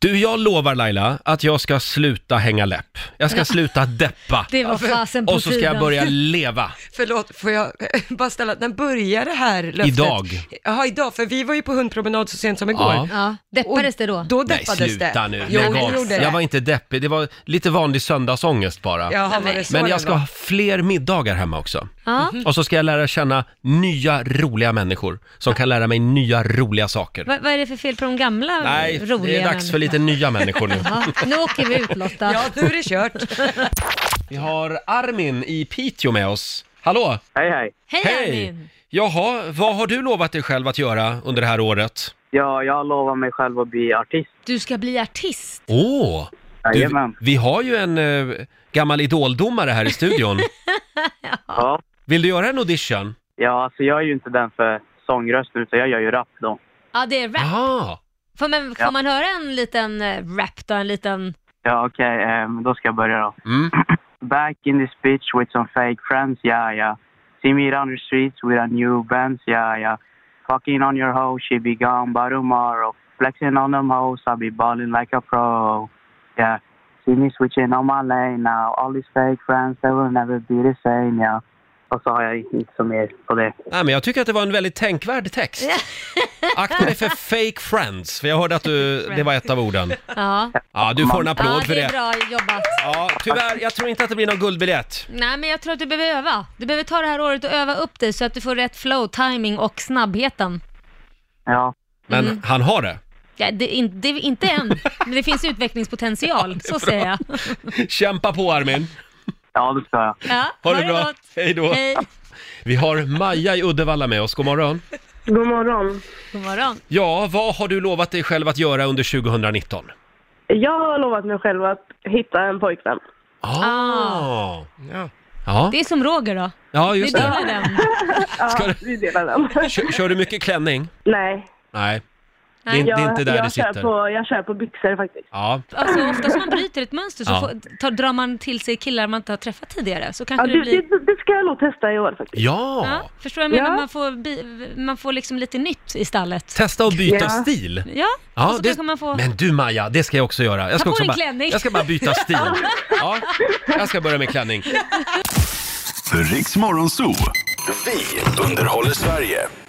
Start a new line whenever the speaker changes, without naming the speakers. Du, jag lovar Laila att jag ska sluta hänga läpp. Jag ska sluta deppa.
Det var fasen på
Och så ska jag
tiden.
börja leva.
Förlåt, får jag eh, bara ställa, när börjar det här löftet?
Idag.
Jaha, idag, för vi var ju på hundpromenad så sent som igår.
Ja.
Ja, deppades det då?
Då
Nej,
deppades
sluta
det.
nu.
Jo,
Lägg
det
av.
gjorde
Jag var
det.
inte deppig, det var lite vanlig söndagsångest bara.
Jaha, var det så
Men
det
jag ska
var?
ha fler middagar hemma också.
Ja.
Och så ska jag lära känna nya roliga människor som kan lära mig nya roliga saker.
Vad, vad är det för fel på de gamla
Nej,
roliga
det är dags för
människorna?
lite nya människor nu.
Ja, nu åker vi ut Lotta.
Ja, nu är det kört.
Vi har Armin i Piteå med oss. Hallå!
Hej, hej.
Hej,
Hej!
Armin!
Jaha, vad har du lovat dig själv att göra under det här året?
Ja, jag lovar mig själv att bli artist.
Du ska bli artist.
Åh! Du,
Jajamän.
vi har ju en eh, gammal idoldomare här i studion.
Ja.
Vill du göra en audition?
ja, alltså jag är ju inte den för sångrösten utan jag gör ju rap då.
Ja, det är rap.
Jaha!
Får man, får
Ja.
man höra en liten eh, rap då? En liten...
Ja, okej, ehm, då ska jag börja då.
Mm.
Back in this bitch with some fake friends, yeah, yeah. See me down the streets with a new bands, yeah, yeah. Fucking on your hoe, she be gone by tomorrow. Flexing on them hoes, I be balling like a pro. Yeah, see me switching on my lane now. All these fake friends, they will never be the same, yeah. Och så har jag inte så mer på det.
Nej, men jag tycker att det var en väldigt tänkvärd text. Akta dig för fake friends, för jag hörde att du, det var ett av orden.
Ja.
Ja, du får en applåd
ja,
för
det är
det.
bra jobbat.
Ja, tyvärr, jag tror inte att det blir någon guldbiljett.
Nej, men jag tror att du behöver öva. Du behöver ta det här året och öva upp dig så att du får rätt flow, timing och snabbheten.
Ja,
Men
Mm.
han har det.
Ja, det, är in, det, är inte än, men det finns utvecklingspotential, så säger jag.
Kämpa på Armin!
ja det ska jag.
Ja,
Ha det bra!
gott.
Hej då!
Hej,
Vi har Maja i Uddevalla med oss, god morgon.
God morgon.
god morgon.
Ja, vad har du lovat dig själv att göra under 2019?
Jag har lovat mig själv att hitta en pojkvän.
Ah. Ja.
Det är som Roger då.
ja,
Vi
just det.
delar den.
Ja,
Ska du-
vi delar den.
Kör, kör du mycket klänning?
Nej,
Nej. Det är,
Nej.
det är
jag,
inte där
jag,
det
kör
sitter.
på, jag kör på byxor faktiskt.
Ja.
Alltså, ofta som man bryter ett mönster så
Ja.
får, tar, drar man till sig killar man inte har träffat tidigare. Så
Ja,
kanske
du,
det blir...
det, det ska jag nog testa i år faktiskt.
ja!
Ja, förstår jag menar?
Ja.
Man, får, bi- man får liksom lite nytt i stallet.
Testa att byta
Ja.
stil.
Ja, och
Ja,
så
det,
kanske man får...
Men du Maja, det ska jag också göra. Jag ska,
på
också
dig
bara,
klänning.
jag ska bara byta stil. Ja, jag ska börja med klänning.
Riks Morgonzoo. Vi underhåller Sverige.